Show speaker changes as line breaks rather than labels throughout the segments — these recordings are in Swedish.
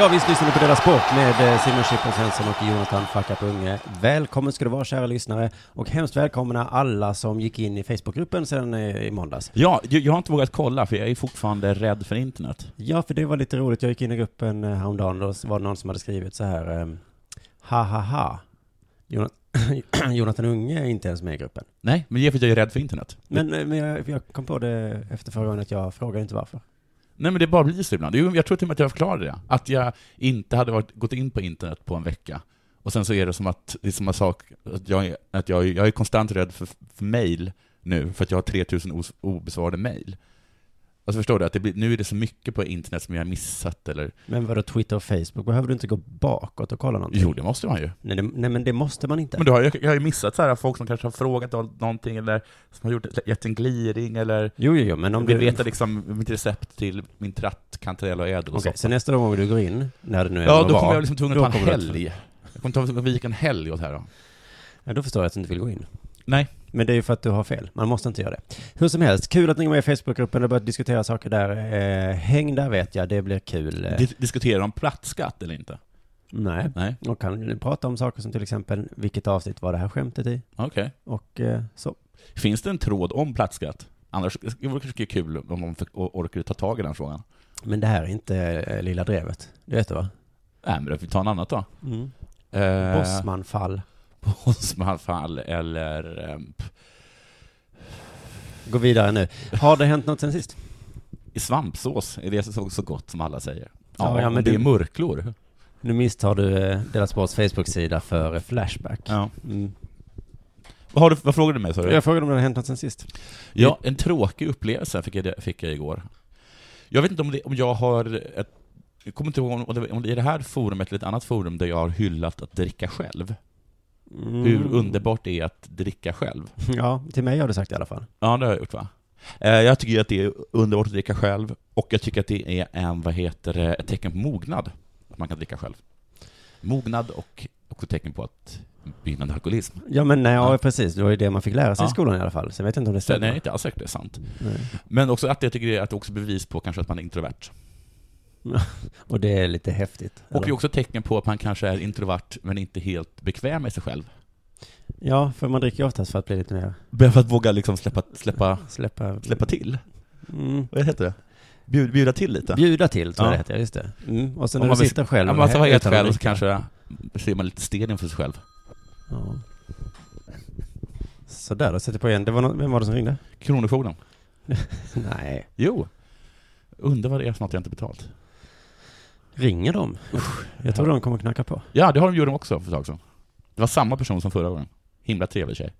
Ja, visst lyssnar ni på Dela Sport med eh, Simon Chippen Svensson och Jonathan Fuckup Unge. Välkommen ska du vara kära lyssnare och hemskt välkomna alla som gick in i Facebookgruppen sedan eh, i måndags.
Ja, jag jag har inte vågat kolla för jag är fortfarande rädd för internet.
Ja, för det var lite roligt. Jag gick in i gruppen eh, häromdagen och så var det någon som hade skrivit så här eh, ha ha ha. Jonat- Jonathan Unge är inte ens med i gruppen.
Nej, men det är för att jag är rädd för internet.
Men, eh, men jag, jag kom på det efter förra gången att jag frågar inte varför.
Nej men det bara blir så ibland. Jo, Jag tror till och med att jag förklarade det. Att jag inte hade varit, gått in på internet på en vecka. Och sen så är det som att, det är samma sak, att jag är, att jag, är- jag är konstant rädd för, för mail nu, för att jag har 3000 os- obesvarade mail. Alltså förstår du, att det blir, nu är det så mycket på internet som jag har missat eller...
Men vadå Twitter och Facebook? Behöver du inte gå bakåt och kolla någonting?
Jo, det måste man ju.
Nej, det, nej men det måste man inte.
Men då har jag, jag har ju missat så här folk som kanske har frågat om någonting eller som har gjort, gett en gliring eller
Jo, jo, jo, men om
vill
du...
veta liksom mitt recept till min tratt, kantarell och ädelsoppa.
Okej, så nästa gång du går in, när det nu är
Ja,
vad
då
var,
kommer jag liksom tvungen
då
att ta en
kommer du att-
helg. Eh. Jag kommer ta vika en helg åt det här då.
Ja, då förstår jag att du inte vill gå in.
Nej.
Men det är ju för att du har fel. Man måste inte göra det. Hur som helst, kul att ni är med i Facebookgruppen och börjat diskutera saker där. Eh, häng där vet jag, det blir kul. Eh,
Dis- Diskutera om plattskatt eller inte?
Nej.
Nej,
Och kan ni prata om saker som till exempel, vilket avsnitt var det här skämtet i?
okej.
Och eh, så.
Finns det en tråd om plattskatt? Annars det vore det kanske kul om de fick- or- orkade ta tag i den frågan.
Men det här är inte eh, lilla drevet. Det vet du va?
Nej, Äh, men vi tar en annat då.
Mm.
Eh,
Bosmanfall.
Bosmanfall eller... eh, p-
Gå vidare nu. Har det hänt något sen sist?
I svampsås är det så, så gott som alla säger.
Ja,
Ja,
ja, men
men det
du-
är murklor.
Nu misstar du eh, Dela Sports Facebook-sida för eh, Flashback.
Ja.
Mm.
Vad, har du, vad frågade du mig, sa du?
Jag frågade om det har hänt något sen sist.
Ja, en tråkig upplevelse fick jag, fick jag igår. Jag vet inte om, det, om jag har ett, jag kommer inte ihåg om det, om det är det här forumet eller ett annat forum där jag har hyllat att dricka själv.
Mm.
Hur underbart det är att dricka själv.
Ja, till mig har du sagt i alla fall.
Ja, det har jag gjort va? Eh, Jag tycker att det är underbart att dricka själv, och jag tycker att det är en, vad heter det, ett tecken på mognad, att man kan dricka själv. Mognad och också tecken på att begynnande alkoholism.
Ja men nej, ja,
Ja.
precis, det var ju det man fick lära sig i
Ja.
skolan i alla fall. Sen vet jag inte om det
Så, nej,
stämmer.
det är inte alls säkert det är sant.
Nej.
Men också att jag tycker det är- att det också är bevis på kanske att man är introvert.
Och det är lite häftigt.
Och det är
eller?
också ett tecken på att man kanske är introvert men inte helt bekväm med sig själv.
Ja, för man dricker ju oftast för att bli lite mer,
Bara för att våga liksom släppa, släppa,
släppa,
släppa till.
mm.
Vad heter det? Bjud, bjuda till lite.
bjuda till tror
Ja.
jag det heter, ja, just det. Mm. Och sen
Om
när
man
du
vill-
sitter själv.
Ja, men alltså,
här-
har helt
utan
själv så
dricka.
kanske ser man lite stel inför sig själv.
Ja. Sådär, då sätter jag på igen. Det var någon, vem var det som ringde?
Kronofogden.
Nej.
Jo. Undrar vad det är för något jag inte betalt.
Ringer de? Jag tror de kommer knacka på.
Ja, det har de gjort också för ett tag sedan. Det var samma person som förra gången. Himla trevlig tjej.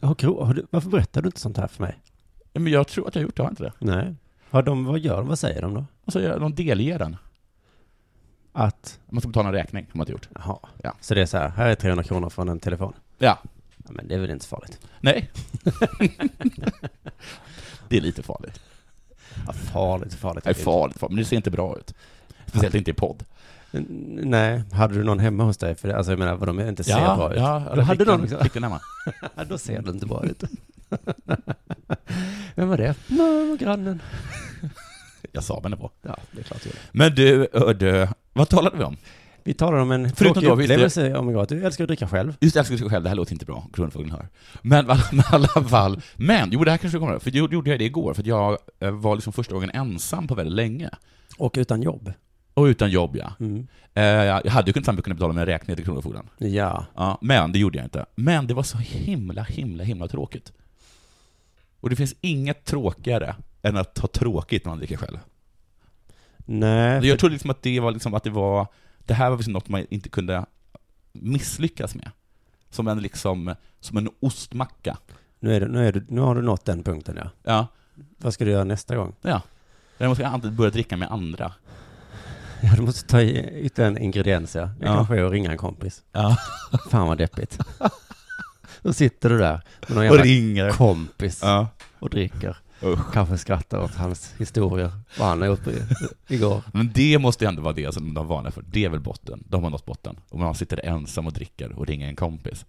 Har, Kro- har du, varför berättar du inte sånt här för mig?
Ja, Men jag tror att jag har gjort det, har jag inte det?
Nej. Har de, vad gör de? Vad säger de då?
Alltså, jag- de delger den.
Att,
Man ska betala en räkning, har man inte gjort.
jaha.
Ja.
Så det är så här, här är 300 kronor från en telefon.
Ja.
Ja, men det är väl inte så farligt.
Nej. det är lite farligt.
Ja, farligt, farligt.
Det är farligt, farligt, men det ser inte bra ut. Speciellt inte i podd.
N- Nej, hade du någon hemma hos dig? För det, alltså jag menar, vad de inte ser bra ut.
ja.
Då hade
fick
någon
den-
också.
Fick den hemma.
Ja, då ser det inte bra ut. Vem var det? Mö, grannen.
Jag sa vem det var.
Ja, det är klart det
Men du, hördu, vad talade vi om?
Vi talar om en
Förutom
tråkig
då, visst,
upplevelse om igår. att Du älskar att dricka själv.
Just det, jag skulle säga själv, det här låter inte bra, Kronofogden hör. Men i alla fall, men, jo det här kanske du kommer ihåg, för då gjorde jag det igår, för att jag eh, var liksom första gången ensam på väldigt länge.
Och utan jobb.
Och utan jobb ja.
Mm.
Eh, Jag hade ju kunnat kunna betala mina räkningar till Kronofogden.
Ja.
Ja, men det gjorde jag inte. Men det var så himla, himla, himla tråkigt. Och det finns inget tråkigare än att ha tråkigt när man dricker själv.
Nej.
Jag trodde liksom att det var liksom att det var, det här var liksom något man inte kunde misslyckas med. Som en liksom, som en ostmacka.
Nu, är du, nu, är du, nu har du nått den punkten ja.
Ja,
Vad ska du göra nästa gång?
ja. Jag måste alltid börja dricka med andra.
Ja, du måste ta i ytterligare en ingrediens ja. Det
Ja.
kanske är att ringa en kompis.
Ja.
Fan vad deppigt. Då sitter du där med någon
Och
jävla
ringer.
kompis
Ja.
och dricker.
Usch.
Kanske skrattar åt hans historier, vad han har gjort i- igår.
Men det måste ju ändå vara det som de varnar för. Det är väl botten. De har nått botten. Om man sitter ensam och dricker och ringer en kompis.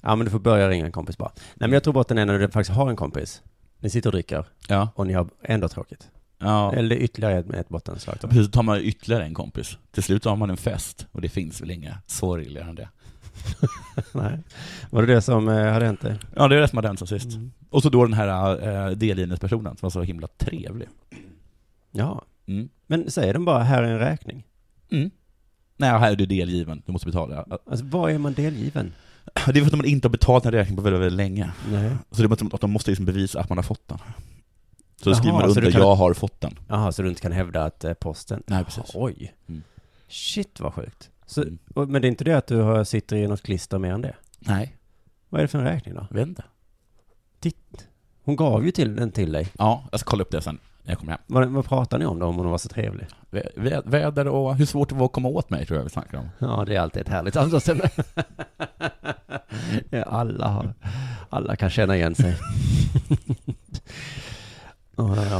Ja, men du får börja ringa en kompis bara. Nej, men jag tror botten är när du faktiskt har en kompis. Ni sitter och dricker
Ja.
och ni har ändå tråkigt.
ja.
Eller ytterligare ett, ett bottenslag. då.
Precis, då tar man ytterligare en kompis. Till slut har man en fest och det finns väl inga sorgligare än det.
Nej. Var det det som eh, hade hänt dig?
Ja, det är det som har den som sist. Mm. Och så då den här eh, D-linjespersonen som var så himla trevlig.
Ja.
Mm.
Men säger den bara, här är en räkning.
Mm. Nej, här är du delgiven. Du måste betala.
Alltså, vad är man delgiven?
Det är för att man inte har betalat en räkning på väldigt, väldigt länge.
Nej.
Så det är som att de måste liksom bevisa att man har fått den. Så då
Jaha,
skriver man
så
under,
du kan-
jag har fått den.
Jaha, så du inte kan hävda att eh, posten...
Nej, precis.
Oj.
Mm.
Shit, vad sjukt. Så,
Mm.
och, men det är inte det att du har, sitter i något klister mer än det?
Nej,
Vad är det för en räkning då?
jag vet inte.
Titt. Hon gav ju till den till dig.
Ja, jag ska kolla upp det sen när jag kommer hem.
Vad, vad pratar ni om då, om hon var så trevlig?
Vä- vä- Väder och hur svårt det var att komma åt mig tror jag vi snackar om.
Ja, det är alltid ett härligt samtalsämne. Ja, alla, har, alla kan känna igen sig. Ja, ja, ja.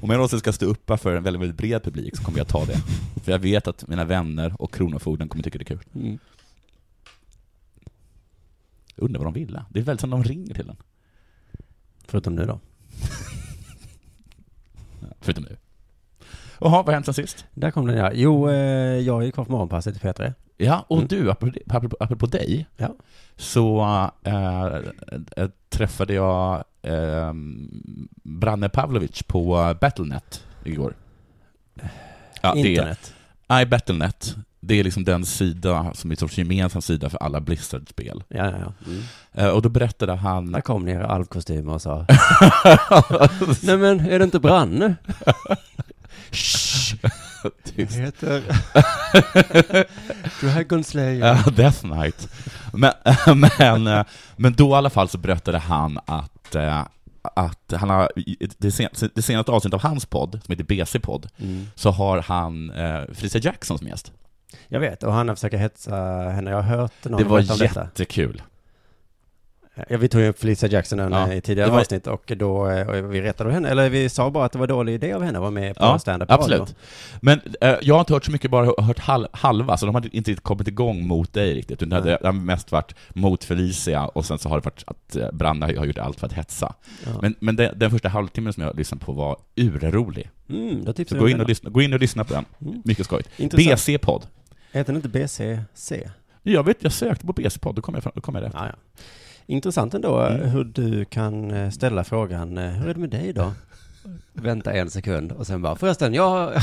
Om jag någonsin ska stå upp för en väldigt, väldigt bred publik så kommer jag ta det. För jag vet att mina vänner och Kronofogden kommer tycka det är kul.
Mm.
Undrar vad de ville. Det är väl som de ringer till en.
Förutom nu då.
Förutom nu. Jaha, vad har hänt sen sist?
Där kom den ja. Jo, eh, jag är ju kvar på morgonpasset i P3.
Ja, och
Mm.
du, apropå, apropå, apropå dig,
Ja.
så äh, äh, träffade jag äh, Branne Pavlovic på äh, Battlenet igår. Ja, det,
Internet.
nej, Battlenet. Det är liksom den sida som är en sorts gemensam sida för alla Blizzard-spel.
Ja, ja, ja.
Eh, och då berättade han...
Där kom ni i era alvkostymer och sa Nej men, är det inte Branne?
Tyst.
heter Dragon Slayer.
Ja, Death Knight. Men, men, eh, men då i alla fall så berättade han att, eh, att han har, i det, sen, det senaste avsnittet av hans podd, som heter BC-podd,
Mm.
så har han eh, Felicia Jackson som gäst.
Jag vet, och han har försökt hetsa henne. Jag har hört någon
det var
berätta om detta.
jättekul.
Ja, vi tog ju upp Felicia Jackson
Ja,
ja, i tidigare
det var-
avsnitt och då eh, och vi retade henne, eller vi sa bara att det var dålig idé av henne att vara med på
Ja,
stand-up
absolut. Men eh, jag har inte hört så mycket, bara hört hal- halva, så de hade inte riktigt kommit igång mot dig riktigt, utan det har mest varit mot Felicia, och sen så har det varit att eh, Branne har gjort allt för att hetsa.
Ja.
Men, men den, den första halvtimmen som jag lyssnade på var urrolig.
Mm, då
Så
tipsar vi
gå
om
in,
den.
och lyssna, gå in och lyssna på den.
Mm.
Mycket skojigt.
Intressant.
BC-podd.
Heter den inte BCC?
Jag vet, jag sökte på BC-podd, då kom jag, fram, då kom jag rätt.
Ja, ja. Intressant ändå eh, hur du kan eh, ställa frågan, eh, hur är det med dig då? Vänta en sekund och sen bara, förresten, jag... Ah.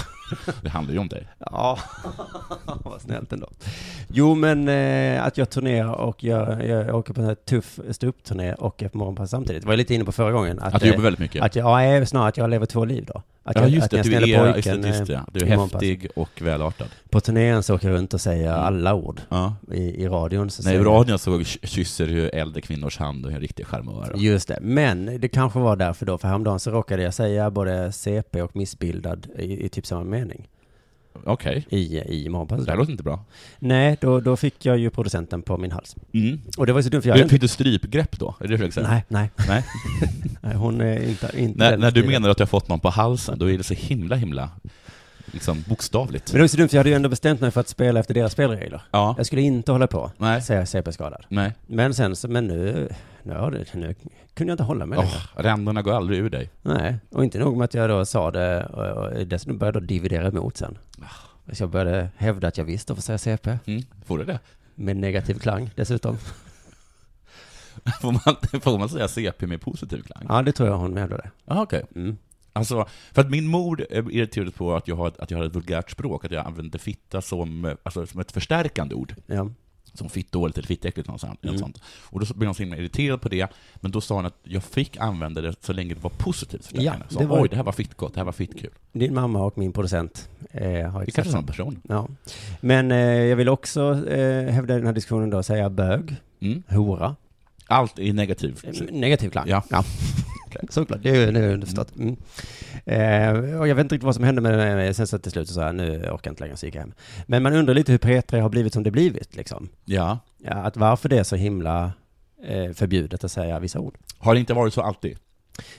Det handlar ju om dig.
Ja, vad snällt ändå. Jo, men eh, att jag turnerar och jag, jag åker på en här tuff ståuppturné och är på morgonpass samtidigt. var jag lite inne på förra gången. Att,
Att du
eh,
jobbar väldigt mycket.
Att jag, ja, nej, snarare att jag lever två liv då. Att
ja,
jag,
just
att
det,
jag
du
snälla
är, just
pojken, eh,
det, just det. ja. Du är
i Mompas.
häftig och välartad.
eh, På turnén så åker jag runt och säger
Mm.
alla ord
Ja.
i, i radion. Så
Nej, i
säger
radion så k- kysser du äldre kvinnors hand och är en riktig charmör.
jag- Just det, men det kanske var därför då, för häromdagen så råkade jag säga både CP och missbildad i, i typ samma mening
Okej,
i, i
det
morgonpasset.
här låter inte bra.
Nej, då, då fick jag ju producenten på min hals.
Mm.
Och det var ju så dumt för jag
Du,
hade
fick du strypgrepp då? Är det det du försöker säga?
Nej, nej.
Nej.
nej, hon är inte... inte
När,
den
när du
stilen.
menar att du har fått någon på halsen, då är det så himla, himla liksom bokstavligt.
Men det var ju så dumt, för jag hade ju ändå bestämt mig för att spela efter deras spelregler.
Ja,
Jag skulle inte hålla på,
Nej.
säga CP-skadad.
nej.
Men sen så, men nu, nu, har det- nu kunde jag inte hålla mig längre.
Åh, ränderna går aldrig ur dig.
Nej, och inte nog med att jag då sa det, och, och dessutom började jag dividera emot sen. Så jag började hävda att jag visste får säga CP,
Mm. Får du det?
med negativ klang dessutom.
Får man, får man säga CP med positiv klang?
Ja, det tror jag hon hävdade.
Ja, okej.
Mm.
Alltså, för att min mor eh, irriterades på att jag, har ett, att jag har ett vulgärt språk, att jag använder fitta som, eh, alltså, som ett förstärkande ord.
Ja.
Som fittdåligt eller fittäckligt, något sånt.
Mm.
något sånt. Och då blev hon så himla irriterad på det, men då sa hon att jag fick använda det så länge det var positivt för
Ja,
henne. Så,
det var-
Oj, det här var fittgott, det här var fittkul.
Din mamma och min producent eh, har
Det är
exakt
kanske
samma.
samma person.
Ja. Men eh, jag vill också eh, hävda i den här diskussionen då, säga bög,
Mm.
hora,
Allt är negativt.
eh, negativ klang.
Ja.
Såklart, det är ju det är ju underförstått. Mm. Eh, och jag vet inte riktigt vad som hände med det, sen så till slut så sa jag, nu orkar jag inte längre, så gick jag hem. Men man undrar lite hur P3 har blivit som det blivit, liksom.
ja.
Ja, att varför det är så himla eh, förbjudet att säga vissa ord.
Har det inte varit så alltid?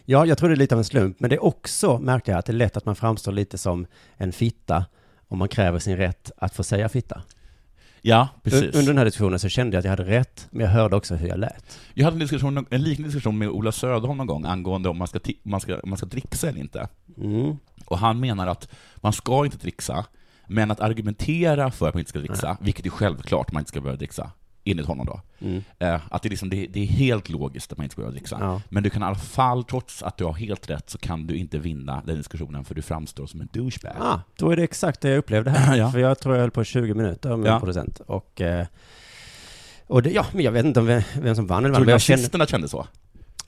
Ja, jag tror det är lite av en slump, men det är också, märker jag, att det är lätt att man framstår lite som en fitta om man kräver sin rätt att få säga fitta.
Ja,
U-
precis.
Under den här diskussionen så kände jag att jag hade rätt, men jag hörde också hur jag lät.
Jag hade en, diskussion, en liknande diskussion med Ola Söderholm någon gång angående om man ska, ti- om man ska, om man ska dricksa eller inte.
Mm.
Och han menar att man ska inte dricksa, men att argumentera för att man inte ska dricksa, vilket är självklart man inte ska börja dricksa, enligt honom då.
Mm.
Eh, att det, är liksom, det, det är helt logiskt att man inte ska börja dricksa.
Ja.
Men du kan i alla fall, trots att du har helt rätt, så kan du inte vinna den diskussionen för du framstår som en douchebag.
Ah, då är det exakt det jag upplevde här.
Ja.
För jag tror jag höll på i 20 minuter med
Ja.
en producent. Och, eh, och det, ja, men jag vet inte om vem, vem som vann
Tror
eller vann,
du
men jag kände
nazisterna kände så?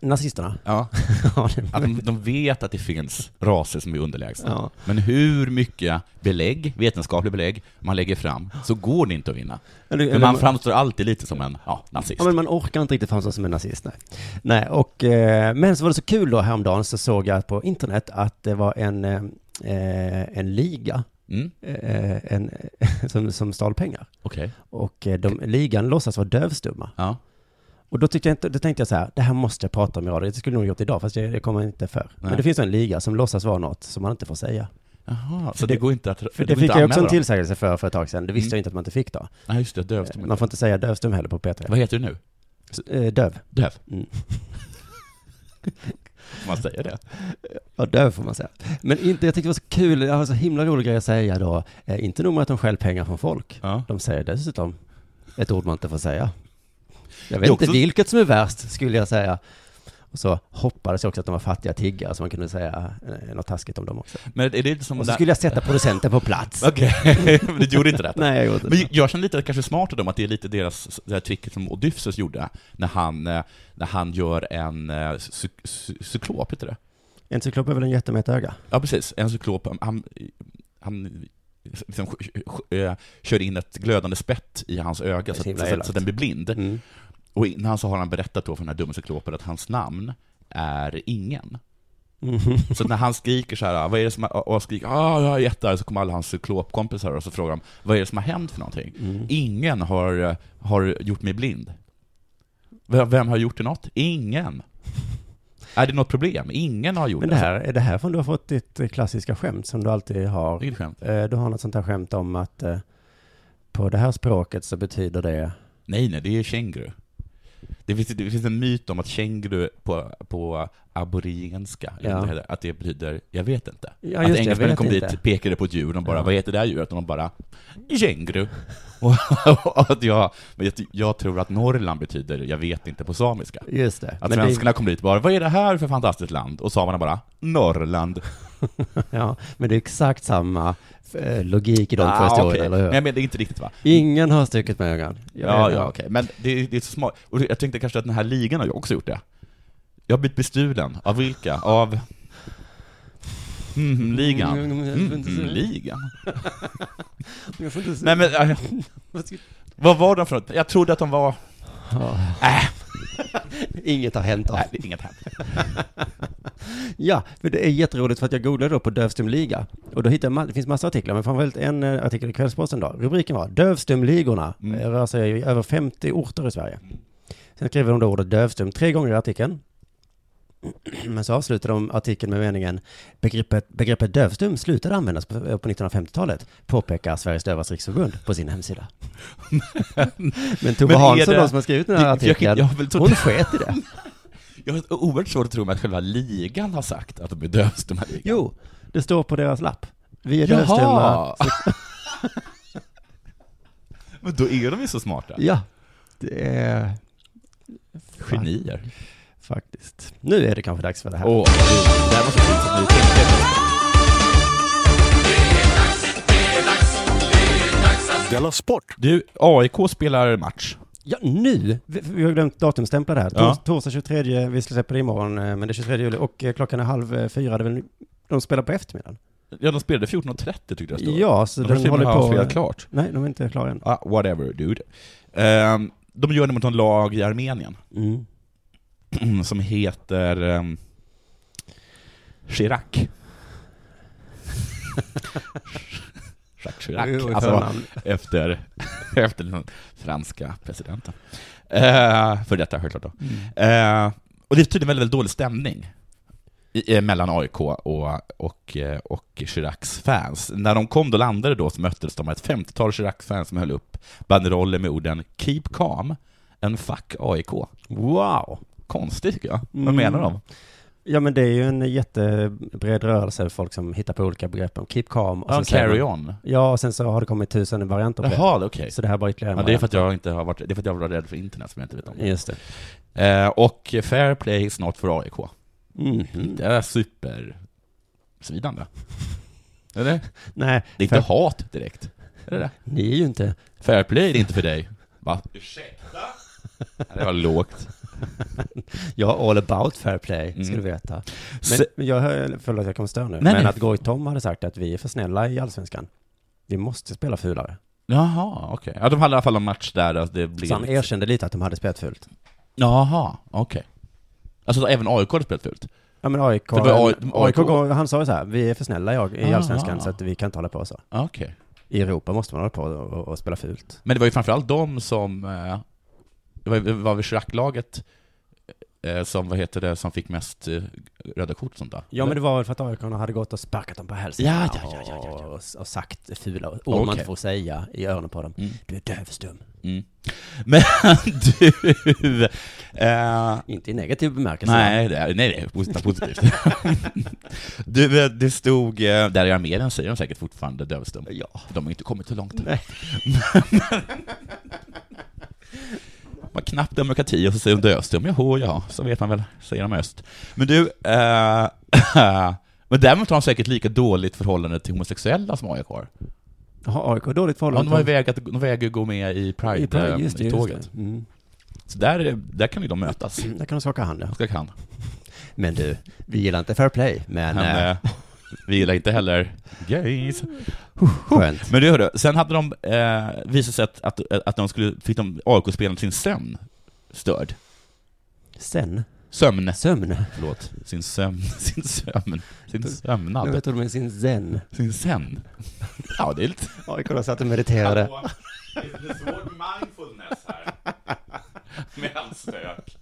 nazisterna.
Ja.
Ja, det-
Att de, de vet att det finns raser som är underlägsna.
Ja.
Men hur mycket belägg, vetenskapliga belägg, man lägger fram, så går det inte att vinna.
Eller-
Men
eller-
man framstår alltid lite som en, ja, nazist.
Ja, men man orkar inte riktigt framstå som en nazist. Nej. nej och, eh, men så var det så kul då häromdagen så såg jag på internet att det var en, eh, eh, en liga
Mm,
eh, en, som, som stal pengar.
okej.
Och eh, de, ligan låtsas vara dövstumma.
Ja.
Och då, tyckte jag inte, då tänkte jag så här, det här måste jag prata om i radio. Det skulle jag nog gjort idag, fast jag, det kommer jag inte för.
Nej.
Men det finns en liga som låtsas vara något som man inte får säga.
Jaha, så
det-
det, går inte att...
För
går
det
inte
fick
att
jag också en
anmäla dem?
tillsägelse för, för ett tag sedan. Det visste
Mm.
jag inte att man inte fick då.
Nej, just det, dövstum.
Man får inte säga dövstum heller på P3.
Vad heter du nu?
S- eh, Döv.
Döv?
Mm.
Får man säga det?
Ja, döv får man säga. Men inte, jag tyckte det var så kul, jag har så himla rolig grej att säga då. Eh, inte nog med att de stjäl pengar från folk,
Ja.
de säger dessutom ett ord man inte får säga. Jag
Det
vet
är
inte
också-
vilket som är värst, skulle jag säga. Och så hoppades jag också att de var fattiga tiggare, så man kunde säga eh, något taskigt om dem också.
Men är det inte som...
Och så skulle jag sätta producenten på plats.
Okej, men du gjorde inte det?
Nej, jag gjorde inte
Men
det.
jag känner lite att det kanske är smart av dem, att det är lite deras, det här tricket som Odysseus gjorde, när han, eh, när han gör en eh, cy- cy- cyklop, heter det?
En cyklop är väl en jätte med ett öga?
Ja, precis. En cyklop, han- han, han liksom, sk- sk- eh, kör in ett glödande spett i hans öga
Det är
så
så
att,
himla
så, att,
elakt.
så att den blir blind.
Mm.
Och innan så har han berättat då för den här dumme cyklopen att hans namn är ingen.
Mhm.
Så när han skriker så här, "Ah, vad är det som har, och han skriker ah, jag är jättearg, så kommer alla hans cyklopkompisar och så frågar de, vad är det som har hänt för någonting?
Mm.
Ingen har, eh, har gjort mig blind. V- Vem har gjort det något? Ingen. Är det något problem? Ingen har gjort
Men det här, är det här från du har fått ditt eh, klassiska skämt som du alltid har?
Vilket skämt?
Eh, Du har något sånt här skämt om att eh, på det här språket så betyder det...
Nej, nej, det är känguru. Det finns, det finns en myt om att känguru på, på aborigenska, eller
Ja.
vad det heter, att det betyder ”jag vet inte”.
Ja,
att
just det, jag
engelsmännen
vet
kom
inte.
dit, pekade på ett djur, de bara
Ja.
”vad heter det här djuret?” och de bara ”känguru”. Och- och att jag, men jag, jag tror att Norrland betyder ”jag vet inte” på samiska.
Just det.
Att
Men
svenskarna kom dit och bara ”vad är det här för fantastiskt land?” och samerna bara ”Norrland”.
Det, ja, men det är exakt samma eh, logik i de två
Ah,
historierna,
okej.
eller hur?
Nej, men det är inte riktigt va?
Ingen har stuckit med ögonen. Jag
Ja,
vet
ja,
det.
okej. Men det, det är så smart. Och jag tänkte kanske att den här ligan har ju också gjort det. Jag har blivit bestulen. Av vilka? Av... Mm, ligan. Mm, ligan.
Jag får inte se.
Nej men, äh, vad var de för något? Jag trodde att de var...
Ja. Inget har hänt. Av.
Nej, det är inget hänt.
Ja, för det är jätteroligt för att jag googlade då på dövstumliga. Och då hittade jag, ma- det finns massa artiklar, men framförallt en eh, artikel i Kvällsposten då. Rubriken var Dövstumligorna
Mm.
eh, rör sig i över 50 orter i Sverige. Sen skriver de då ordet dövstum tre gånger i artikeln. Men så avslutar de artikeln med meningen begreppet, begreppet dövstum slutade användas på, eh, på 1950-talet, påpekar Sveriges Dövas Riksförbund på sin hemsida. men Tove
Men är
Hansson
det-
då som har skrivit den här
Det- jag-
artikeln,
jag har väl trott-
hon sket i det.
Jag har oerhört svårt att tro mig att själva ligan har sagt att de är dövs, de här ligan.
Jo, det står på deras lapp. Vi är dövstumma.
Jaha! men då är de ju så smarta.
Ja, det är
Genier.
faktiskt. Nu är det kanske dags för det här.
Åh, det här var så kul som ni tänkte.
Della Sport!
Du, AIK spelar match.
Ja, nu! Vi, vi har glömt datumstämpla det här. Tors,
Ja.
Torsdag 23, vi ska släppa det imorgon, eh, men det är 23 juli och eh, klockan är halv eh, fyra, det är väl, de spelar på eftermiddagen.
Ja, de spelade 14.30 tyckte jag stod.
Ja, så
de
den
kanske
håller
har
på...
spelat klart.
Nej, de är inte klara än.
Ah, whatever dude. Ehm, de gör det mot en lag i Armenien
Mm.
som heter um, Chirac. Jacques Chirac.
Jo, i
Alltså,
förnamn.
efter, efter den franska presidenten. Eh, Uh, för detta självklart då. Eh, och det är tydligen väldigt, väldigt dålig stämning. i, eh, mellan AIK och, och, eh, och Chiracs fans. När de kom, då landade då, så möttes de av ett 50-tal Chirac-fans som höll upp banderoller med orden ”Keep calm” and ”Fuck AIK”.
Wow!
Konstigt tycker jag. Vad
Mm.
menar de?
Ja men det är ju en jättebred rörelse, folk som hittar på olika begrepp om keep calm och
Ja,
sen säger
Alltså, carry
man-
on.
Ja, och sen så har det kommit tusen varianter på
Jaha, okej.
det. Så det här är bara ytterligare en
Ja, det är för
variant.
att jag inte har varit, det är för att jag var rädd för internet som jag inte vet om.
Just det.
Eh, och fair play is not för AIK.
Mhm.
Det är supersvidande. Eller?
Nej,
Det är inte
fair-
hat direkt. Är det det?
ni är ju inte...
Fair play är inte för dig. Va? Ursäkta? Det var lågt.
Jag är all about fair play, ska
Mm.
du veta.
Se-
Men men jag hör, förlåt jag kommer störa nu,
Nej,
men
nej.
att Goitom hade sagt att vi är för snälla i Allsvenskan. Vi måste spela fulare.
Jaha, okej. Ja, de hade i alla fall en match där och det blev...
Så han erkände lite att de hade spelat fult.
Jaha, okej. Alltså även AIK hade spelat fult?
Ja men AIK,
Det var A-
AIK,
AIK.
går- han sa ju så här, vi är för snälla i- i
Ah.
Allsvenskan så att vi kan inte hålla på så.
Okej.
I Europa måste man hålla på och, och spela fult.
Men det var ju framförallt de som... eh, Det var, det var väl Chirac-laget eh, som, vad heter det, som fick mest eh, röda kort och sånt där?
Ja men det var väl för att AIK hade gått och sparkat dem på hälsen
Ja, ja, ja, ja, ja, ja.
Och, och sagt fula ord man
Okej.
inte får säga i öronen på dem.
Mm.
Du är dövstum.
Mm. Men du... Eh,
Inte i negativ bemärkelse.
nej, det är, nej, det är positivt. positivt. du, eh, det stod... eh, Där i armén säger de säkert fortfarande dövstum.
Ja.
De har inte kommit så långt.
Nej.
Man knappt demokrati och så säger de dövstum. Jaha, ja, så vet man väl, säger de öst. Men du, eh, men däremot har de säkert lika dåligt förhållande till homosexuella som AIK har.
Har AIK dåligt
Ja,
förhållande?
de, var iväg att, de väger att gå med i
I Pride, just det, just
Pride-tåget.
det. Mm.
Så där, där kan ju de mötas.
Där kan de skaka hand ja.
Ska kan.
Men du, vi gillar inte fair play, men
Men,
eh,
eh, vi gillar inte heller gays.
skönt.
Men du hörde, sen hade de eh, visat sig att, att, att de skulle, fick de AIK-spelaren sin sömn störd.
Sen,
Sömn.
sömn.
Förlåt. Sin sömn. Sin sömn. Sin
Nu
sömnad.
vet de sin zen.
Sin sen. Ja, det är lite...
AIK då satt och mediterade.
Det är lite svår mindfulness här. Med all stök.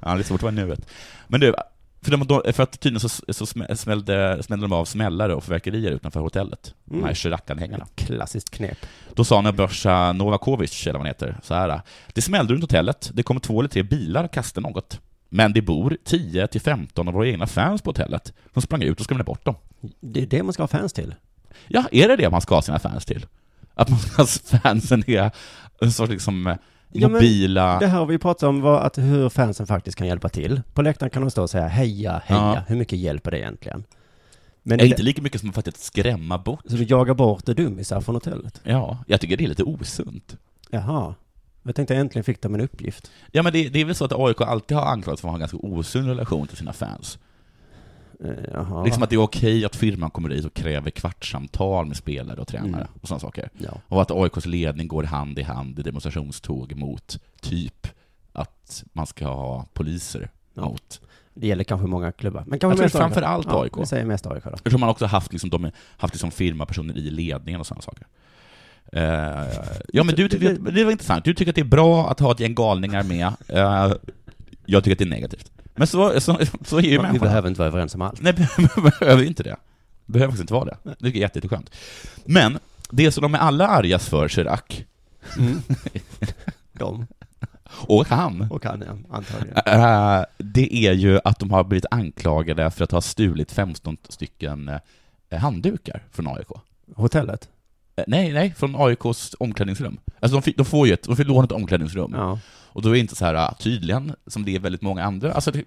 Ja, det är svårt att vara i nuet. Men du, för, de, för att tydligen så, så smä- smällde, smällde de av smällare och fyrverkerier utanför hotellet. De här
Mm.
Chirac-anhängarna.
Klassiskt knep.
Då sa Nebojsa Novakovic, eller vad han heter, så här. Det smällde runt hotellet, det kommer två eller tre bilar och kastade något. Men det bor 10-15 av våra egna fans på hotellet. De sprang ut och skrämde bort dem.
Det är det man ska ha fans till.
Ja, är det det man ska ha sina fans till? Att man ska fansen är en sorts liksom eh,
Ja, men
mobila...
Det här har vi pratat om var att hur fansen faktiskt kan hjälpa till. På läktaren kan de stå och säga heja, heja.
Ja.
Hur mycket hjälper det egentligen? Men
är inte lika mycket som faktiskt att skrämma bort.
Så du jagar bort det dummisar från hotellet?
Ja, jag tycker det är lite osunt.
Jaha. Jag tänkte äntligen fick de en uppgift.
Ja, men det, det är väl så att AIK alltid har anklagats för att ha en ganska osund relation till sina fans.
Eh, Jaha.
Liksom att det är okej att firman kommer dit och kräver kvartssamtal med spelare och tränare
Mm.
och sådana saker.
Ja.
Och att AIKs ledning går hand i hand i demonstrationståg mot typ att man ska ha poliser
Ja.
mot.
Det gäller kanske många klubbar. Men
Jag
kanske
tror
mest
framför
AIK.
allt
Ja,
AIK.
Vi säger mest AIK då.
Jag tror man också haft, liksom, de, haft liksom firmapersoner i ledningen och sådana saker. Eh, ja men du tycker att, det var intressant, du tycker att det är bra att ha ett gäng galningar med, Eh, jag tycker att det är negativt. Men så, så, så är ju
Vi
människan.
behöver inte vara överens om allt.
Nej, behöver inte det. Behöver faktiskt inte vara det. Det tycker jag är jätte- jätteskönt. Men, det som de är alla argas för, Chirac, Mm.
De
och han,
och han, ja, antagligen.
Eh, det är ju att de har blivit anklagade för att ha stulit 15 stycken eh, handdukar från AIK.
Hotellet?
Eh, Nej, nej, från AIKs omklädningsrum. Alltså de, fick, de får ju ett, de får låna ett omklädningsrum.
Ja.
Och då är det inte så här ah, tydligen, som det är väldigt många andra, alltså det,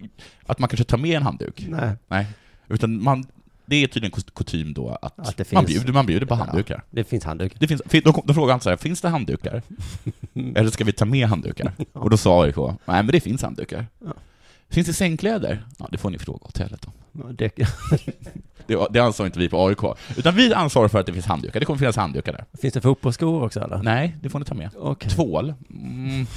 att man kanske tar med en handduk.
Nej.
Nej. Utan man, det är tydligen kos- kutym då att,
Att det
man,
finns-
bjuder, man bjuder på
Ja.
handdukar.
Det finns handduk.
Det finns, fin- de, kom- de frågade alltså så här, finns det handdukar? Eller ska vi ta med handdukar? Och då sa AIK, nej men det finns handdukar.
Ja.
Finns det sängkläder? Ja, det får ni fråga hotellet om.
Det,
Det, det ansvarar inte vi på AIK. Utan vi ansvarar för att det finns handdukar. Det kommer finnas handdukar där.
finns det fotbollsskor också eller?
Nej, det får ni ta med.
Okej.
Tvål? Mm.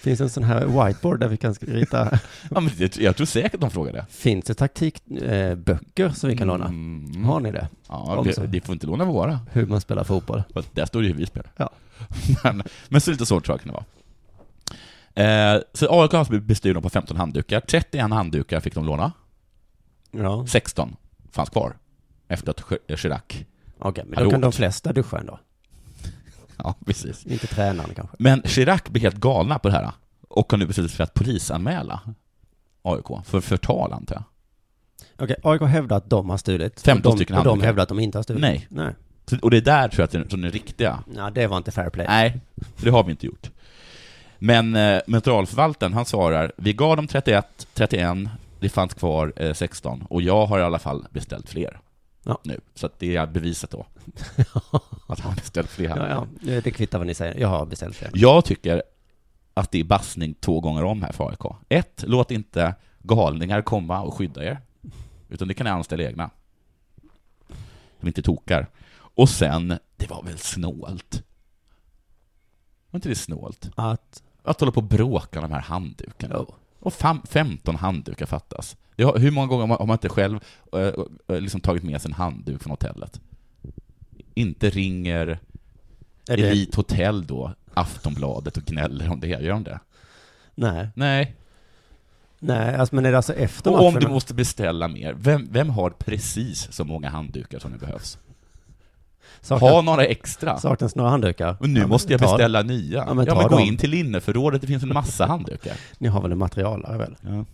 Finns det en sån här whiteboard där vi kan rita?
Ja, men det, jag tror säkert de frågar det.
finns det taktikböcker som vi kan låna?
Mm.
Har ni det?
Ja,
Om så.
det, det får inte låna våra.
Hur man spelar fotboll?
För att där står det ju hur vi spelar.
Ja.
men, men så lite så tror jag kan det vara. Eh, så AIK har blivit bestulna på 15 handdukar. 31 handdukar fick de låna.
Ja,
16 fanns kvar efter att Ch- eh, Chirac...
okej. men
Hallå.
då kan de flesta duscha ändå.
Ja, precis.
Inte tränaren kanske.
Men Chirac blev helt galna på det här och har nu beslutat sig för att polisanmäla AIK för förtal, antar jag.
Okej, AIK hävdar att de har stulit.
15
och de,
stycken
Och de
handdukar.
hävdar att de inte har stulit.
Nej.
Nej.
Så- Och det är där tror jag att den, som den riktiga...
Ja, det var inte fair play.
Nej, det har vi inte gjort. Men eh, materialförvaltaren, han svarar, vi gav dem 31, 31, det fanns kvar eh, 16 och jag har i alla fall beställt fler.
Ja.
Nu. Så att det är beviset då. att han har beställt fler.
Ja, ja. Det det kvittar vad ni säger. Jag har beställt det.
Jag tycker att det är bassning två gånger om här för AIK. Ett, låt inte galningar komma och skydda er. Utan det kan ni anställa egna. De inte tokar. Och sen, det var väl snålt? Var inte det snålt?
Att... Oh.
Att hålla på och bråka om de här handdukarna.
Jo.
Och fem, 15 handdukar fattas. Det har, hur många gånger har man- har man inte själv eh, eh, liksom tagit med sig en handduk från hotellet? Inte ringer
Är det-
Elit Hotell då, Aftonbladet och gnäller om det. Gör de det?
Nej.
Nej.
Nej, alltså, men är det alltså efter
Och om du
matchen?
måste beställa mer, vem, vem har precis så många handdukar som det behövs?
Saknas,
Ha några extra.
saknas några handdukar?
Och nu
Ja, men
måste jag
ta-
beställa nya. Ja,
Ja,
men,
men ta
gå
dem.
in till linneförrådet, det finns en massa handdukar.
Ni har väl en materialare väl?
Ja.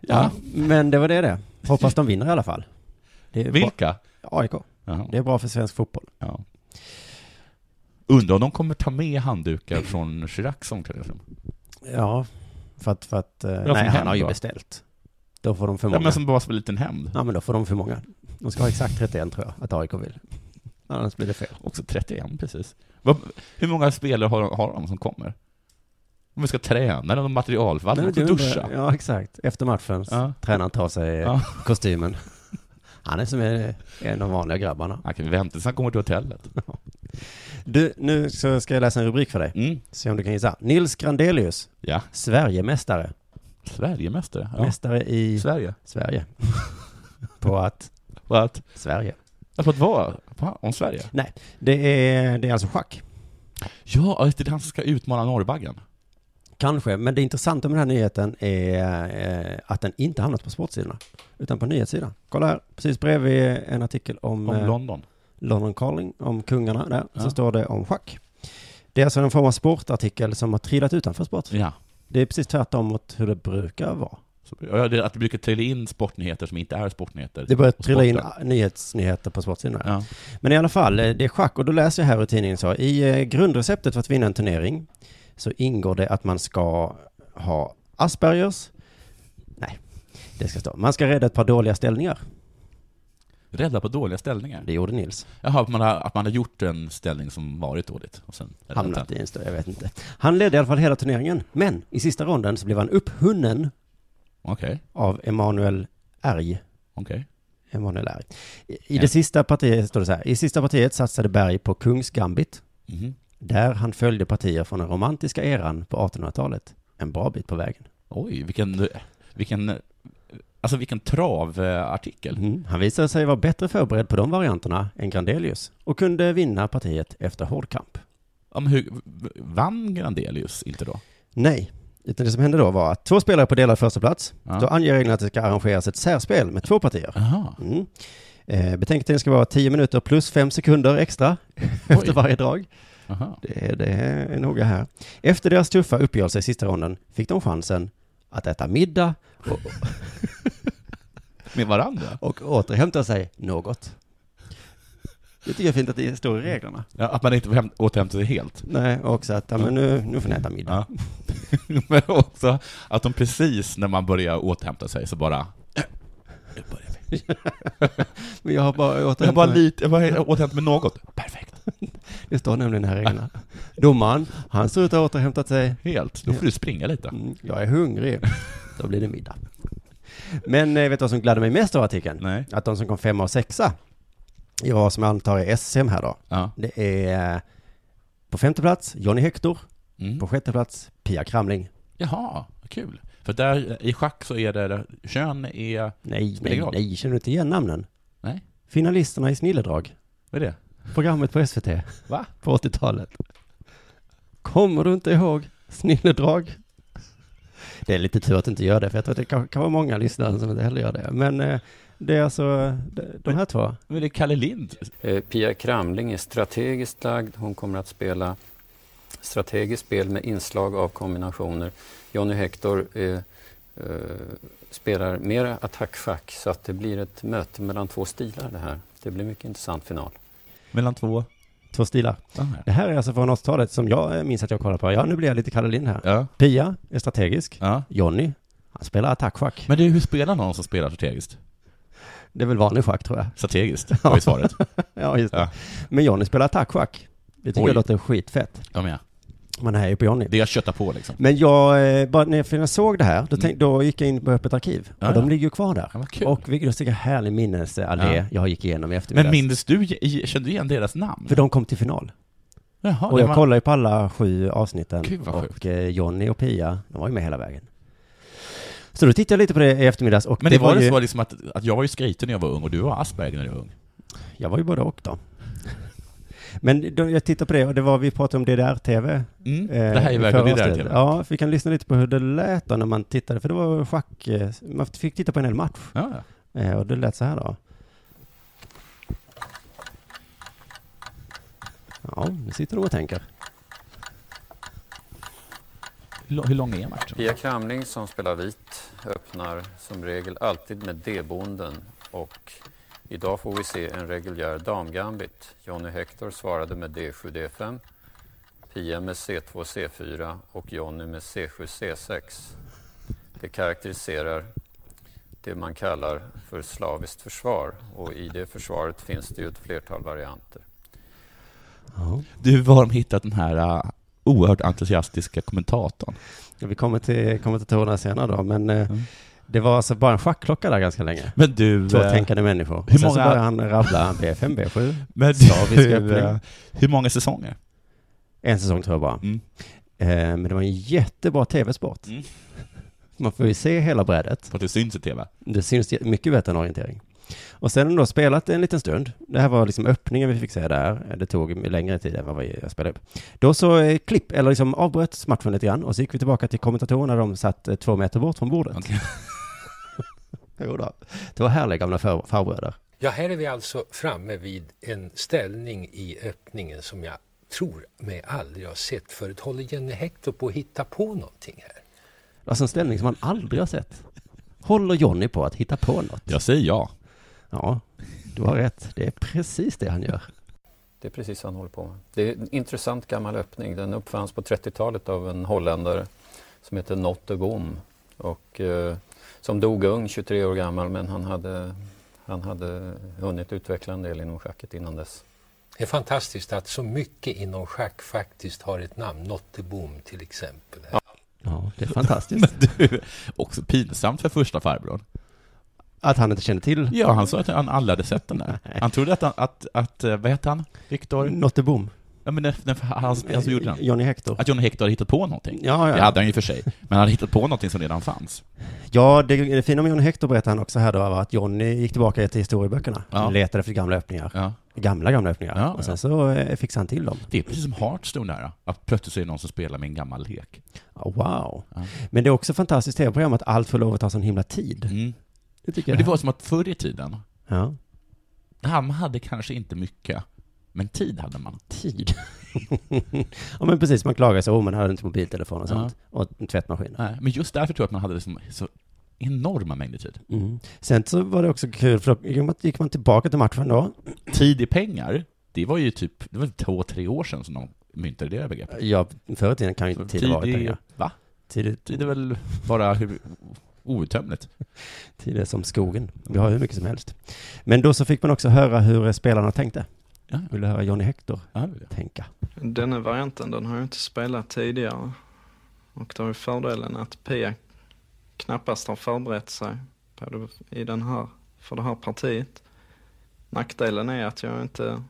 Ja, men det var det det. Hoppas de vinner i alla fall. Det är bra.
Vilka?
AIK.
Ja.
Det är bra för svensk fotboll.
Ja. Undrar om de kommer ta med handdukar från Chiracs omklädningsrum?
Ja, för att... För att eh,
som
nej,
hem
han har ju
då?
beställt. Då får de för
Ja,
många.
men som bara som en liten hämnd.
Ja, men då får de för många. De ska ha exakt 31 tror jag, att AIK vill. Annars blir det fel.
Också 31 precis. Vad, hur många spelare har, har de som kommer? Om vi ska träna, de materialförvaltare, de ska
Men du
duscha.
undrar- Ja, exakt. Efter matchen,
Ja.
ja. tränaren tar sig eh,
Ja.
kostymen. Han är som en, en av de vanliga grabbarna.
Han kan vi vänta tills han kommer till hotellet.
Du, nu så ska jag läsa en rubrik för dig.
Mm.
Se om du kan gissa. Nils Grandelius,
Ja,
Sverigemästare.
Sverigemästare. Ja.
Mästare i
Sverige.
Sverige. på att
Och att,
Sverige.
att, att vara fan, om Sverige.
Nej, det är, det är alltså schack.
Ja, just det det är han som ska utmana Norrbaggen.
Kanske, men det intressanta med den här nyheten är eh, att den inte hamnat på sportsidorna, utan på nyhetssidan. Kolla här, precis bredvid en artikel om,
Om
eh,
London.
London Calling, om kungarna där,
Ja.
så står det om schack. Det är alltså en form av sportartikel som har trillat utanför sport.
Ja.
Det är precis tvärtom mot hur det brukar vara.
Så, ja, det, att det brukar trilla in sportnyheter som inte är sportnyheter.
Det börjar
Och
trilla in
sporten.
nyhetsnyheter på sportsidorna.
Ja.
Men i alla fall, eh, det är schack och då läser jag här i tidningen så. I eh, grundreceptet för att vinna en turnering så ingår det att man ska ha aspergers. Nej, det ska stå. Man ska rädda ett par dåliga ställningar.
Rädda på dåliga ställningar.
Det gjorde Nils.
Jaha, att man, har, att man har gjort en ställning som varit dåligt. Och sen
Hamnat i en större, jag vet inte. Han ledde i alla fall hela turneringen. Men i sista ronden så blev han upphunnen
Okej,
av Emanuel Erg.
okej.
Emanuel Erg. I, i det sista partiet står det så här. I sista partiet satsade Berg på kungsgambit.
Mhm.
Där han följde partier från den romantiska eran på 1800-talet. En bra bit på vägen.
Oj, vilken, vilken, alltså vilken travartikel.
Mm. Han visade sig vara bättre förberedd på de varianterna än Grandelius och kunde vinna partiet efter hård kamp.
Ja, men hur, vann Grandelius inte då?
Nej, utan det som hände då var att två spelare på delad första plats.
Ja.
Då anger reglerna att det ska arrangeras ett särspel med två partier.
Aha.
Mm. Eh, betänketiden ska vara 10 minuter plus 5 sekunder extra efter varje drag.
Aha.
Det, är- det är noga här. Efter deras tuffa uppgörelse i sista ronden fick de chansen att äta middag
Med varandra?
och återhämta sig något. Det tycker jag är fint att det står i reglerna.
Ja, att man inte häm- återhämtar sig helt.
Nej, och också att, ja, men nu, nu får ni äta middag.
Ja. Men också att de precis när man börjar återhämta sig så bara... Nu börjar vi.
Men jag har bara
Jag
återhämtat
bara
mig.
lite, jag bara återhämtat mig något. Perfekt.
Det står nämligen här i reglerna. Domaren, han ser ut att ha återhämtat sig.
Helt. Då får du springa lite.
Mm, Jag är hungrig. Då blir det middag. Men eh, vet du vad som gladde mig mest av artikeln?
Nej.
Att de som kom femma och sexa i vad som jag antar är SM här då.
Ja.
Det är eh, på femte plats Johnny Hector,
Mm.
på sjätte plats Pia Kramling.
Jaha, vad kul. För där i schack så är det, kön är,
Nej,
Spelar
nej,
ingen roll.
nej, känner du inte igen namnen?
Nej.
Finalisterna i Snilledrag,
vad är det?
programmet på SVT.
Va?
på 80-talet. Kommer du inte ihåg? snilledrag. Det är lite tur att du inte gör det, för jag tror att det kan, kan vara många lyssnare som inte heller gör det. Men eh, det är alltså eh, de- de här två.
Men det är Kalle Lind.
Eh, Pia Kramling är strategiskt lagd. Hon kommer att spela strategiskt spel med inslag av kombinationer. Johnny Hector eh, eh, spelar mer attackfack så att det blir ett möte mellan två stilar det här. Det blir mycket intressant final.
Mellan två...
Två stilar. Det här är alltså från 80-talet som jag eh, minns att jag kollade på. Ja, nu blir jag lite Kalle Lind här.
Ja,
Pia är strategisk.
ja.
Jonny, han spelar attackschack.
Men du, hur spelar någon som spelar strategiskt?
Det är väl vanlig schack tror jag.
Strategiskt, var ju svaret.
Ja, just det.
Ja.
Men Jonny spelar attackschack. Det tycker
Oj.
jag låter skitfett.
Ja, men ja.
Man är ju på Jonny.
Det är jag köttar på liksom.
Men jag, eh, bara när jag- för när jag såg det här, då, tänk, då gick jag in på Öppet arkiv.
Mm. Ja,
och de
ja.
ligger ju kvar där.
Ja, vad kul.
Och vilken vilken härlig minnesallé
Ja.
jag gick igenom i eftermiddags.
Men mindes du, i- kände du igen deras namn?
För de kom till final.
Jaha,
och
det
jag
var-
kollade ju på alla sju avsnitten.
Gud, vad
och
sjukt.
eh, Jonny och Pia, de var ju med hela vägen. Så då tittade jag lite på det i eftermiddags och
Men
det,
det var
ju,
det så liksom att, att jag var ju skryter när jag var ung och du var Asperger när du var ung?
jag var ju både och då. Men då, jag tittade på det och det var, vi pratade om DDR-TV.
Mm.
eh,
det här är
i
verkligen det
förra
där
avsnittet.
till.
Ja, vi kan lyssna lite på hur det lät då när man tittade, för det var schack, eh, man fick titta på en hel match.
Ja, ja.
Eh, och det lät så här då. Ja, nu sitter de och tänker.
Hur lång- Hur lång är matchen?
Pia Kramling som spelar vit öppnar som regel alltid med D-bonden och idag får vi se en reguljär damgambit. Johnny Hector svarade med D7, D5, Pia med C2, C4 och Johnny med C7, C6. Det karaktäriserar det man kallar för slaviskt försvar och i det försvaret finns det ju ett flertal varianter.
Ja.
Du, var har de hittat den här uh, oerhört entusiastiska kommentatorn?
Vi kommer till kommentatorerna senare då, men eh,
Mm.
det var alltså bara en schackklocka där ganska länge.
Men du...
Två
eh,
tänkande människor.
hur
Sen så
många-
började han rabbla B5, B7.
men
slavisk
du
öppning.
eh, hur många säsonger?
En säsong tror jag bara.
Mm.
Eh, men det var en jättebra tv-sport.
Mm.
Man får ju se hela brädet.
För att det syns i TV?
Det syns ju mycket bättre än orientering. Och sen då spelat en liten stund. Det här var liksom öppningen vi fick se där. Det tog längre tid än vad jag spelade upp. Då så eh, klipp, eller liksom avbröt matchen lite grann och så gick vi tillbaka till kommentatorerna. De satt eh, två meter bort från bordet.
Okej.
Jo då. Det var härliga gamla far- farbröder.
Ja, här är vi alltså framme vid en ställning i öppningen som jag tror mig aldrig har sett förut. Håller Jenny Hector på att hitta på någonting här?
Alltså en ställning som man aldrig har sett. Håller Johnny på att hitta på något?
Jag säger ja.
Ja, du har rätt. Det är precis det han gör.
Det är precis vad han håller på med. Det är en intressant gammal öppning. Den uppfanns på 30-talet av en holländare som heter Notte Boom. Och, eh, som dog ung, 23 år gammal, men han hade, han hade hunnit utveckla en del inom schacket innan dess.
Det är fantastiskt att så mycket inom schack faktiskt har ett namn. Nottebom till exempel. Här.
Ja, det är fantastiskt.
Men du, också pinsamt för första farbrorn.
Att han inte kände till
Ja, han sa att han aldrig hade sett den där. Han trodde att, han, att, att eh, vad heter han? Viktor?
Nottebom.
Ja, men den, den, han, han som gjorde den.
Johnny Hector.
Att Johnny Hector hade hittat på någonting.
Ja,
Det
ja.
hade han ju för sig. Men han hade hittat på någonting som redan fanns.
ja det, det fina med Johnny Hector berättar han också här då var att Johnny gick tillbaka till historieböckerna.
Ja.
Letade efter gamla öppningar.
Ja.
Gamla, gamla öppningar.
Ja,
och sen så eh, fixade han till dem.
Det är precis som Hearthstone där, att plötsligt så är det någon som spelar med en gammal lek.
Ja, Ah, Wow.
Ja.
Men det är också fantastiskt tv-program att allt får lov att ta sån himla tid. Det tycker
Mm. Men
jag.
det var som att förr i tiden,
Ja.
han hade kanske inte mycket, men tid hade man.
Tid. ja men precis, man klagar sig, åh man hade inte mobiltelefon och
Ja.
sånt. Och en tvättmaskin.
Nej, Men just därför tror jag att man hade liksom så enorma mängder tid.
Mm. Sen så var det också kul, för då gick man- gick man tillbaka till matchen då.
Tid i pengar, det var ju typ, det var två, tre år sedan som de myntade det här begreppet.
Ja, förr i tiden kan ju inte tid ha varit
i-
pengar.
Va?
Tid,
Tid är väl bara hur, outtömligt.
tid är som skogen. Vi har hur mycket som helst. Men då så fick man också höra hur spelarna tänkte.
Ja.
Vill du höra Johnny Hector
Ja, det är det.
tänka?
Denna varianten den har jag inte spelat tidigare. Och det har ju fördelen att Pia knappast har förberett sig på det, i den här, för det här partiet. Nackdelen är att jag inte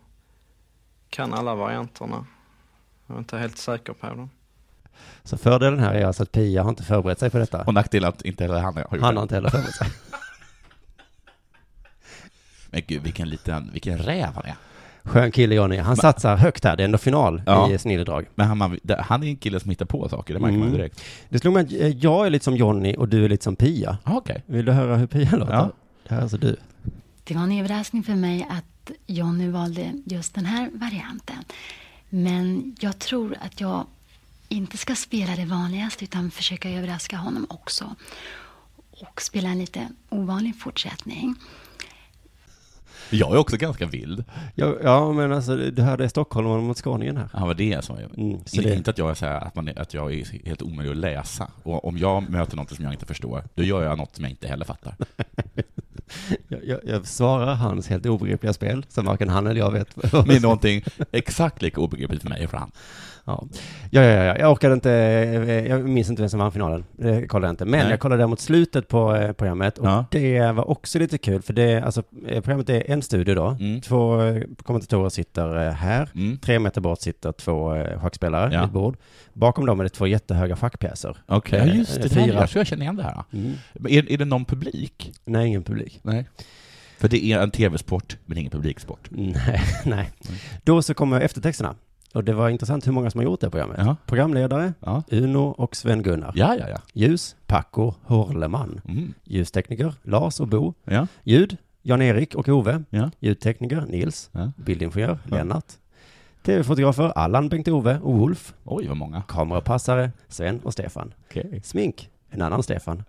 kan alla varianterna. Jag är inte helt säker på dem.
Så fördelen här är alltså att Pia har inte förberett sig för detta.
Och nackdelen att inte heller han har gjort
Han
det.
har inte heller förberett sig.
Men gud, vilken liten, vilken räv han är.
Skön kille Johnny. Han satsar högt här. Det är ändå final
Ja.
i snilledrag.
Men han, man, det- han är en kille som hittar på saker, det märker man
Mm.
direkt.
Det slog mig att eh, jag är lite som Johnny och du är lite som Pia.
Ah, okej.
Vill du höra hur Pia låter?
Ja.
Det här är alltså du.
Det var en överraskning för mig att Johnny valde just den här varianten. Men jag tror att jag inte ska spela det vanligaste utan försöka överraska honom också. Och spela en lite ovanlig fortsättning.
Jag är också ganska vild.
Ja, ja men alltså du hörde stockholmaren mot skåningen här.
Han var det som jag...
Mm, så
In,
det,
Inte att jag är så här, att, man är, att jag är helt omöjlig att läsa. Och om jag möter något som jag inte förstår, då gör jag något som jag inte heller fattar.
jag, jag, jag svarar hans helt obegripliga spel som varken han eller jag vet. vad-
Med någonting exakt lika obegripligt för mig och för han.
Ja. Ja, ja, ja, jag orkade inte, eh, jag minns inte vem som vann finalen, det kollade jag inte. Men
Nej.
jag kollade däremot slutet på eh, programmet och
Ja.
det var också lite kul för det, alltså eh, programmet är en studio då,
Mm.
två eh, kommentatorer sitter eh, här,
Mm.
tre meter bort sitter två eh, schackspelare
Ja.
vid ett bord. Bakom dem är det två jättehöga schackpjäser.
Okej, ja, just det. det här-
Fyra.
Jag tror jag känner igen det här. Men Är, är det någon publik?
Nej, ingen publik.
Nej. För det är en tv-sport, men ingen publiksport.
Nej, nej. Då så kommer eftertexterna. Och det var intressant hur många som har gjort det programmet.
Ja.
Programledare,
Ja,
Uno och Sven-Gunnar.
ja, ja. ja.
Ljus, Paco Horleman.
Mm.
Ljustekniker, Lars och Bo.
ja.
Ljud, Jan-Erik och Ove.
Ja.
Ljudtekniker, Nils.
Ja.
Bildingenjör,
Ja.
Lennart. TV-fotografer, Allan, Bengt-Ove och Wolf.
Oj, vad många.
Kamerapassare, Sven och Stefan.
Okay.
Smink, en annan Stefan.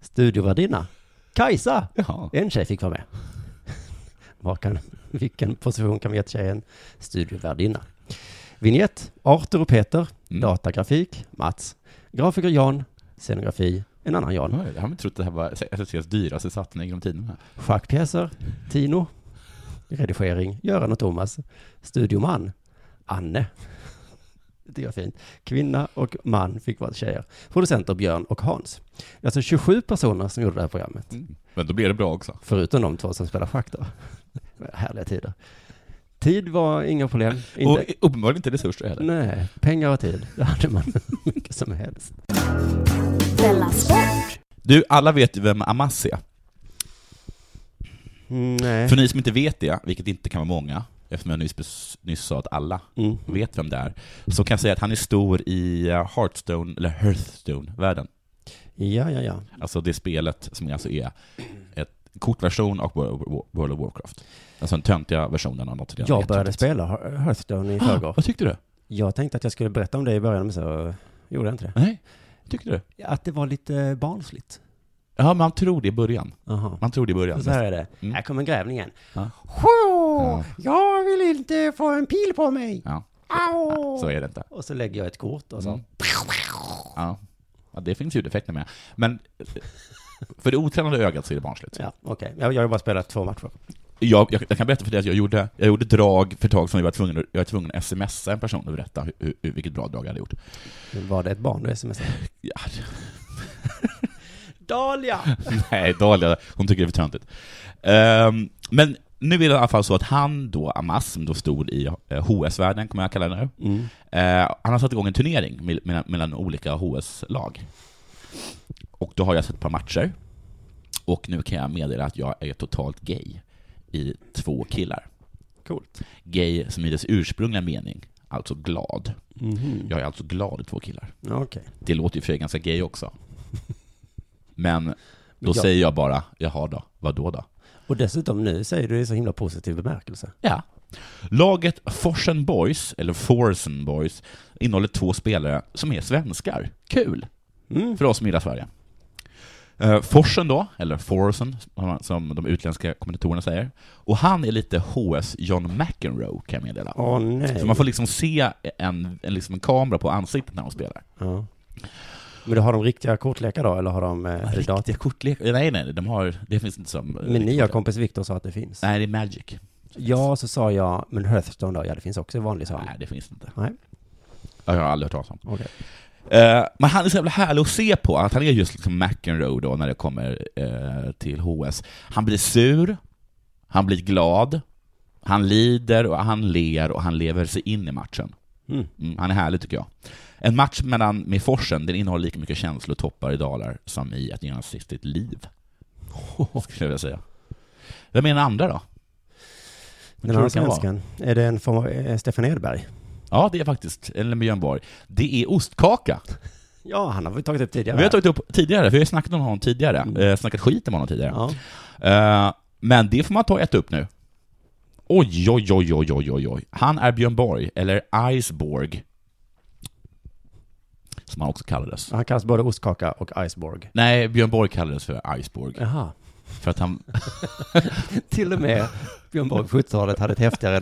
Studiovärdinna, Kajsa.
Ja.
En tjej fick vara med. Var kan, vilken position kan vi ge till tjejen? Studiovärdinna. Vignett, Arthur och Peter.
Mm.
Datagrafik, Mats. Grafiker Jan. Scenografi, en annan Jan.
Oj, jag har inte trott att det här var SSCs dyraste satsning genom tiderna.
Schackpjäser, Tino. Redigering, Göran och Thomas. Studioman, Anne. Det var fint. Kvinna och man fick vara tjejer. Producenter Björn och Hans. Det är alltså 27 personer som gjorde det här programmet.
Mm. Men då blir det bra också.
Förutom de två som spelar schack då. Härliga tider. Tid var inga problem. Inte,
Och uppenbarligen inte Mm. resurser heller.
nej, pengar och tid. Det hade man mycket som helst.
Della Sport.
Du, alla vet ju vem Amassi är.
Mm, Nej.
För ni som inte vet det, vilket inte kan vara många, eftersom jag nyss, bes- nyss sa att alla
Mm.
vet vem det är, så kan jag säga att han är stor i eh, Hearthstone, eller Hearthstone-världen.
Ja, ja, ja.
Alltså det spelet som alltså är ett kortversion av Wor- World of Warcraft. Alltså den töntiga versionen av något. redan
Jag
jättetöntigt.
började spela Hear- Hearthstone i
Ah,
förrgår.
vad tyckte du?
Jag tänkte att jag skulle berätta om det i början, men så gjorde jag inte det.
Nej, tyckte du?
Att det var lite barnsligt.
Ja, man tror det i början.
Jaha.
Man tror det i början.
Så här är det.
Mm.
Här kommer grävlingen.
Ja.
Tjo!
Ja.
Jag vill inte få en pil på mig!
Ja.
Au!
Så är det inte.
Och så lägger jag ett kort och så.
Mm. Ja. ja, det finns ljudeffekter med. Men eh, för det otränade ögat så är det barnsligt.
Ja, okej. Jag, jag har bara spelat två matcher.
Jag, jag, jag kan berätta för dig att jag gjorde, jag gjorde drag för ett tag som jag var tvungen, att- jag var tvungen att smsa en person och berätta hur- hur, hur, vilket bra drag jag hade gjort.
Var det ett barn du smsade?
Ja,
Dahlia!
nej, Dahlia, hon tycker det är för töntigt. Ehm, men nu är det i alla fall så att han då, Amas, som då stod i eh, HS-världen, kommer jag kalla det nu,
Mm.
Eh, han har satt igång en turnering mel- mellan, mellan olika HS-lag. Och då har jag sett ett par matcher. Och nu kan jag meddela att jag är totalt gay i två killar.
Coolt.
Gay som i dess ursprungliga mening, alltså glad.
Mhm.
Jag är alltså glad i två killar.
Ja, Okej.
Det låter ju för sig ganska gay också. Men då
Men jag-
säger jag bara, jaha då, vadå då?
Och dessutom nu säger du det i så himla positiv bemärkelse.
Ja. Laget Forsen Boys, eller Forsen Boys, innehåller två spelare som är svenskar. Kul!
Mm.
för oss som gillar Sverige. Eh, Forsen då, eller Forsen som man- som de utländska kommentatorerna säger. Och han är lite HS John McEnroe kan jag meddela.
Åh nej.
Så man får liksom se en, en, liksom en kamera på ansiktet när de spelar.
Ja. Men då har de riktiga kortlekar då, eller har de... Eh, dator?
kortlek? Nej, nej, de har, det finns inte som... Eh,
Min nya kompis Viktor sa att det finns.
Nej, det är Magic.
Ja, så sa jag, men Hearthstone då? Ja, det finns också i vanlig sal.
Nej, det finns inte.
Nej.
Ja, Jag har aldrig hört talas om.
Okej.
Eh, men han är så jävla härlig att se på, att han är just liksom McEnroe då när det kommer eh, till HS. Han blir sur, han blir glad, han lider och han ler och han lever sig in i matchen.
Mm.
Mm, han är härlig tycker jag. En match mellan, med Forsen, den innehåller lika mycket känslor, toppar och dalar som i ett genomsnittligt liv. Skulle jag vilja säga. Vem är den andra då? tror
Den
jag
andra
det kan vara.
svensken, är det en form av eh, Stefan Edberg?
Ja, det är faktiskt, eller Björn Borg. Det är ostkaka.
Ja, han har vi tagit upp tidigare.
Vi har tagit upp tidigare, för vi har snackat om honom tidigare. Eh, snackat skit om honom tidigare.
ja.
Eh, men det får man ta och äta upp nu. Oj, oj, oj, oj, oj, oj, oj. Han är Björn Borg, eller Iceborg. Som han också kallades.
Han kallas både ostkaka och iceborg.
Nej, Björn Borg kallades för Iceborg.
Jaha.
För att han...
Till och med Björn Borg på 70-talet hade ett häftigare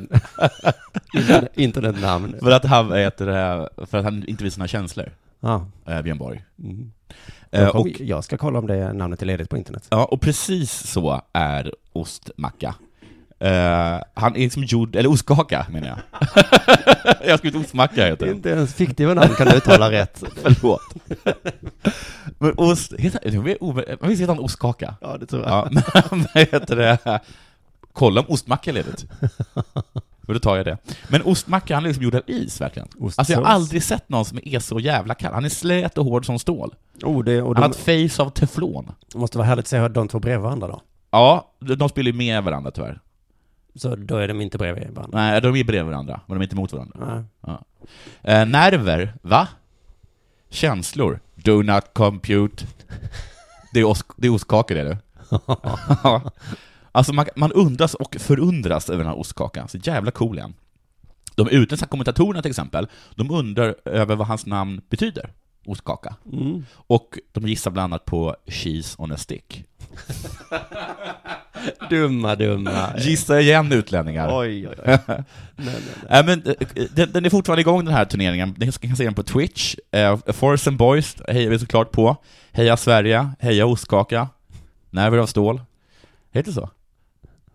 internet- internetnamn.
För att han, äter, för att han inte visar sina känslor,
Ja.
eh, Björn Borg.
Mm.
Eh,
Kom,
och,
Jag ska kolla om det namnet är ledigt på internet.
ja, och precis så är ostmacka. Eh, han är liksom gjord, eller ostkaka menar jag. jag har skrivit ostmacka heter den.
Inte ens fiktiva namn kan du uttala rätt.
Förlåt. Men ost, heter, jag vet- oh, jag visst heter han ostkaka?
Ja, det tror jag.
Ja, men heter det... Kolla om ostmacka är ledigt. För då tar jag det. Men ostmacka, han är liksom gjord av is verkligen.
Ostsås.
Alltså jag har aldrig sett någon som är så jävla kall. Han är slät och hård som stål.
Oh, det, och
Han
de
har ett face av teflon.
måste vara härligt att se hur de två bredvid varandra då.
Ja, de de spelar ju med varandra tyvärr.
Så då är de inte E bredvid varandra.
Nej, de är bredvid varandra, men de är inte mot varandra.
Nej.
Eh, nerver, va? Känslor, do not compute. Det är, os- det är ostkaka det du. Ja. alltså man, man undras och förundras över den här ostkakan, så jävla cool är han. De utländska kommentatorerna till exempel, de undrar över vad hans namn betyder, ostkaka.
Mm.
Och de gissar bland annat på cheese on a stick.
Dumma, dumma.
Gissa igen utlänningar.
Oj, oj, oj.
Nej, men, eh, den, den är fortfarande igång den här turneringen. Ni kan se den på Twitch. Eh, Forest and Boys hejar vi såklart på. Heja Sverige, heja ostkaka. Nerver av stål. Heter det så?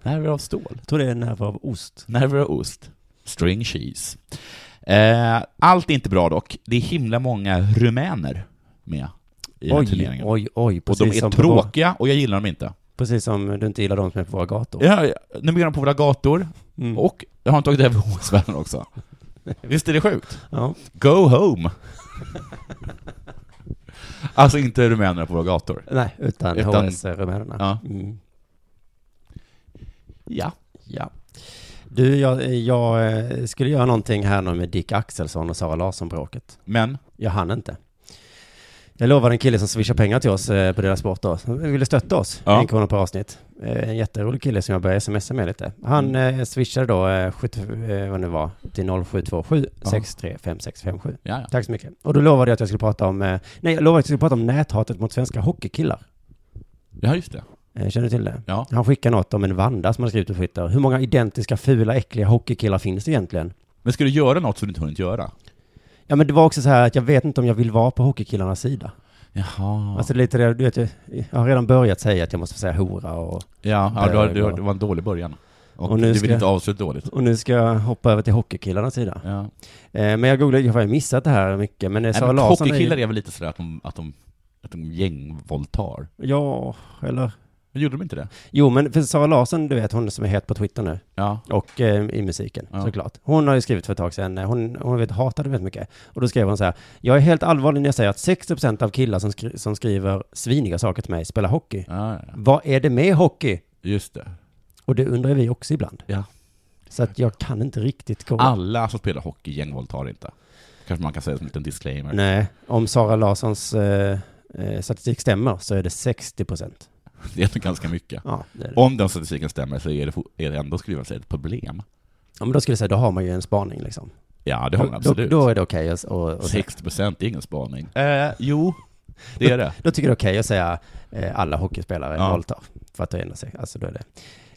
Nerver av stål?
Jag tror det är nerver av ost.
Nerver av ost. String cheese. Eh, allt är inte bra dock. Det är himla många rumäner med i den här
Oj,
turneringen.
oj, oj.
och de
precis
är
som på vår-
tråkiga och jag gillar dem inte.
Precis som du inte gillar de som är på våra gator.
Ja, ja, nu är de på våra gator
Mm.
och jag har tagit över OS-världen också. Visst är det sjukt?
Ja.
Go home! alltså inte rumänerna på våra gator.
Nej, utan,
Utan-
HS-rumänerna.
Ja.
Mm.
Ja.
Ja. Du, jag, jag eh, skulle göra någonting här nu med Dick Axelsson och Sara Larsson-bråket.
Men,
Jag hann inte. Jag lovade en kille som swishade pengar till oss eh, på deras sport då. Han ville stötta oss,
Ja.
en krona per avsnitt. Eh, En jätterolig kille som jag började smsa med lite. Han
Mm.
eh, swishade då, eh, 70, eh, vad det nu var, till 0727
Ja.
635657.
ja, ja.
Tack så mycket. Och då lovade jag att jag skulle prata om, eh, nej jag lovade att jag skulle prata om näthatet mot svenska hockeykillar.
ja just det.
Eh, Känner du till det?
Ja.
Han skickar något om en Vanda som han skrivit på Twitter. Hur många identiska, fula, äckliga hockeykillar finns det egentligen?
Men ska du göra något som du inte hunnit göra?
Ja men det var också så här att jag vet inte om jag vill vara på hockeykillarnas sida.
Jaha.
Alltså lite det, du vet, jag, jag har redan börjat säga att jag måste säga hora och,
ja, ja, det, var, det, var,
bög och-
det var en dålig början. Och,
Och nu
du vill
ska-
inte avsluta dåligt.
och nu ska jag hoppa över till hockeykillarnas sida.
Ja.
Eh, men jag googlade, jag har ju missat det här mycket, men eh,
Nej,
Sara
men
Larsson är
hockeykillar
ju,
är väl lite sådär att de, att de, att de gängvåldtar?
Ja, eller?
Men gjorde de inte det?
Jo men för Sara Larsson, du vet hon som är het på Twitter nu.
Ja.
Och eh, i musiken,
Ja.
såklart. Hon har ju skrivit för ett tag sedan, eh, hon, hon vet, hatade väldigt mycket. Och då skrev hon så här, jag är helt allvarlig när jag säger att 60% av killar som, skri- som skriver sviniga saker till mig spelar hockey.
Ja, ja, ja.
Vad är det med hockey?
just det.
Och det undrar vi också ibland.
Ja.
Så att jag kan inte riktigt kolla.
Alla som spelar hockey gängvåldtar inte. Kanske man kan säga som en liten disclaimer.
Nej, om Sara Larssons eh, eh, statistik stämmer så är det 60%.
Det är nog ganska mycket.
Ja, det är det.
Om den statistiken stämmer så är det, fo- är det ändå skriva sig ett problem.
Ja, men då skulle jag säga, då har man ju en spaning liksom.
Ja, det har man
då,
absolut.
då är det okej att... och, och
60 procent är ingen spaning. Eh, jo, det är det.
Då tycker jag det är okej att säga eh, alla hockeyspelare
Ja.
våldtar. För att det ändrar sig. Alltså då är det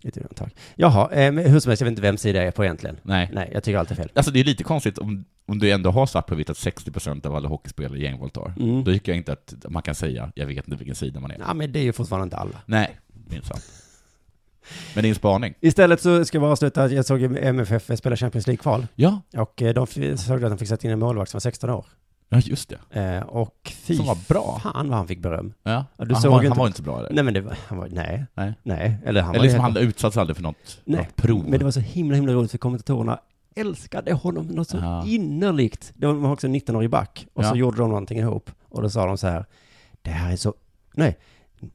lite undantag. Jaha, eh, men hur som helst, jag vet inte vem sida jag är på egentligen.
Nej.
Nej, jag tycker allt är fel.
Alltså det är lite konstigt om, om du ändå har svart på vitt att 60 procent av alla hockeyspelare gängvåldtar.
Mm.
Då tycker jag inte att man kan säga, jag vet inte vilken sida man är.
Ja, men det är ju fortfarande inte alla.
Nej, det är inte sant. Men det är en spaning.
Istället så ska jag bara avsluta, att jag såg ju MFF spela Champions League-kval.
Ja,
Och eh, de f- såg att de fick sätta in en målvakt som var 16 år.
ja just det.
Eh, och fy
Som var bra.
fan vad han fick beröm.
Ja.
Ja, du
han,
såg
var,
ju
han
inte-
var inte så bra eller?
Nej men det var, han var, nej,
Nej.
nej, eller han
Eller
var
liksom,
helt-
han utsattes aldrig för något,
Nej,
något prov.
Men det var så himla, himla roligt för kommentatorerna älskade honom något så
Ja.
innerligt. De var också en 19-årig back och så
Ja.
gjorde de någonting ihop och då sa de så här, det här är så, nej,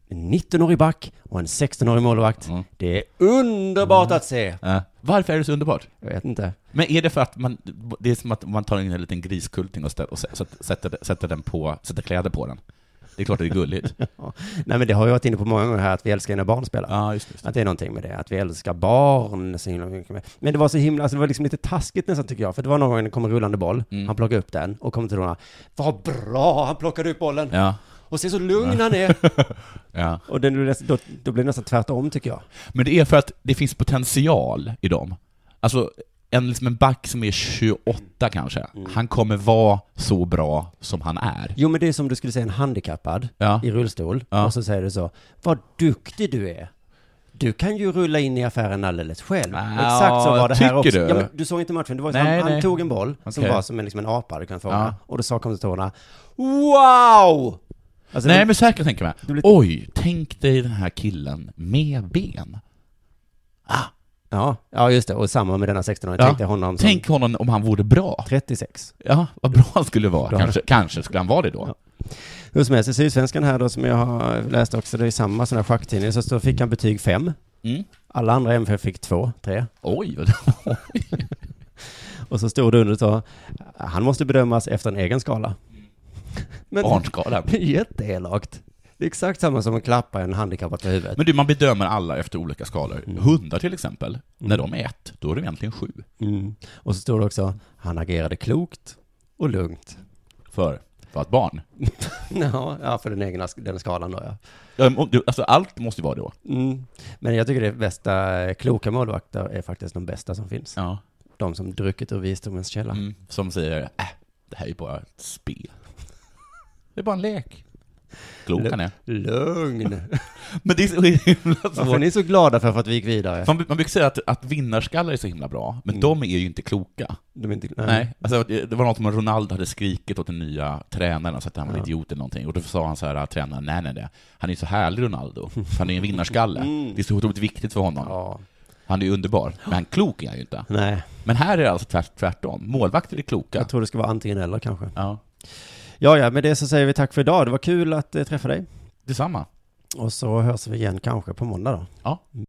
en 19-årig back och en 16-årig målvakt.
Mm.
Det är underbart att se!
Eh, Varför är det så underbart?
Jag vet inte.
Men är det för att man, det är som att man tar in en liten griskulting och, stä- och sä- sätter, sätter, sätter, den på, sätter kläder på den? Det är klart att det är gulligt. Ja,
Nej men det har vi varit inne på många gånger här, att vi älskar när barn spelar.
just det. Just det.
Att det är någonting med det, att vi älskar barn så himla mycket. mer. Men det var så himla, alltså det var liksom lite taskigt nästan tycker jag, för det var någon gång det kom en rullande boll,
Mm.
han plockade upp den och kom till Rona. Vad bra, han plockade upp bollen!
Ja,
Och ser så lugn han är!
ja.
Och den, blev nästan- då, då blev det nästan tvärtom tycker jag.
Men det är för att det finns potential i dem. Alltså, en, liksom en back som är 28 kanske,
Mm.
han kommer vara så bra som han är.
Jo men det är som du skulle säga en handikappad
Ja.
i rullstol,
Ja.
och så säger du så, vad duktig du är! Du kan ju rulla in i affären alldeles själv.
Ja,
Exakt så var det här
Ah, tycker
också.
du?
Ja, men du såg inte matchen, det var ju så
Nej,
han, han
nej.
tog en boll som
Okej.
var som en, liksom en apa du kan fånga,
Ja.
och då sa kommentatorerna Wow! Alltså,
Nej
det-
men säkert tänker man,
blir-
oj, tänk dig den här killen med
Mm.
ben.
ja, ja, just det, och samma med denna 16-åring,
Ja.
tänkte jag honom som
Tänk honom om han vore bra.
36.
Ja, vad bra han skulle
Bra.
vara. Kanske, kanske skulle han vara det då.
Ja. Hur som helst, i Sydsvenskan här då som jag har läst också, det är samma sån här schacktidning, så, så fick han betyg 5.
Mm.
Alla andra MFF fick 2, 3.
Oj, vad-
Och så stod det under så, han måste bedömas efter en egen skala. Men
barnskalan.
det är jätteelakt. Det är exakt samma som att klappa en handikappad på huvudet.
Men du, man bedömer alla efter olika skalor. Hundar till exempel, när de är ett, då är de egentligen sju.
Mm. Och så stod det också, han agerade klokt och lugnt.
För, för att barn.
Ja, ja, för den egna den skalan då ja.
Ja, men om du- Alltså allt måste ju vara då.
Mm. Men jag tycker det bästa, eh, kloka målvakter är faktiskt de bästa som finns.
Ja.
De som druckit ur visdomens källa.
Mm. Som säger, äh, det här är ju bara ett spel. Det är bara en lek. Klok han är.
Lugn!
Men det är så himla
Varför är
svårt.
ni så glada för, för att vi gick vidare?
Man, man brukar säga att, att vinnarskallar är så himla bra,
Mm.
men de är ju inte kloka.
De är inte,
Nej, alltså, det det var något om att Ronaldo hade skrikit åt den nya tränaren och sagt att han var en
Ja.
idiot eller någonting. Och då sa han så här, tränaren, nej nej nej, han är ju så härlig Ronaldo, för han är ju en vinnarskalle. Det är så otroligt viktigt för honom.
Mm. Ja.
Han är ju underbar, men han klok är han ju inte.
Nej,
Men här är det alltså tvärt, tvärtom, målvakter är kloka.
jag tror det ska vara antingen eller kanske.
Ja.
Ja, ja, med det så säger vi tack för idag. Det var kul att eh, träffa dig.
Detsamma.
Och så hörs vi igen kanske på måndag då.
Ja.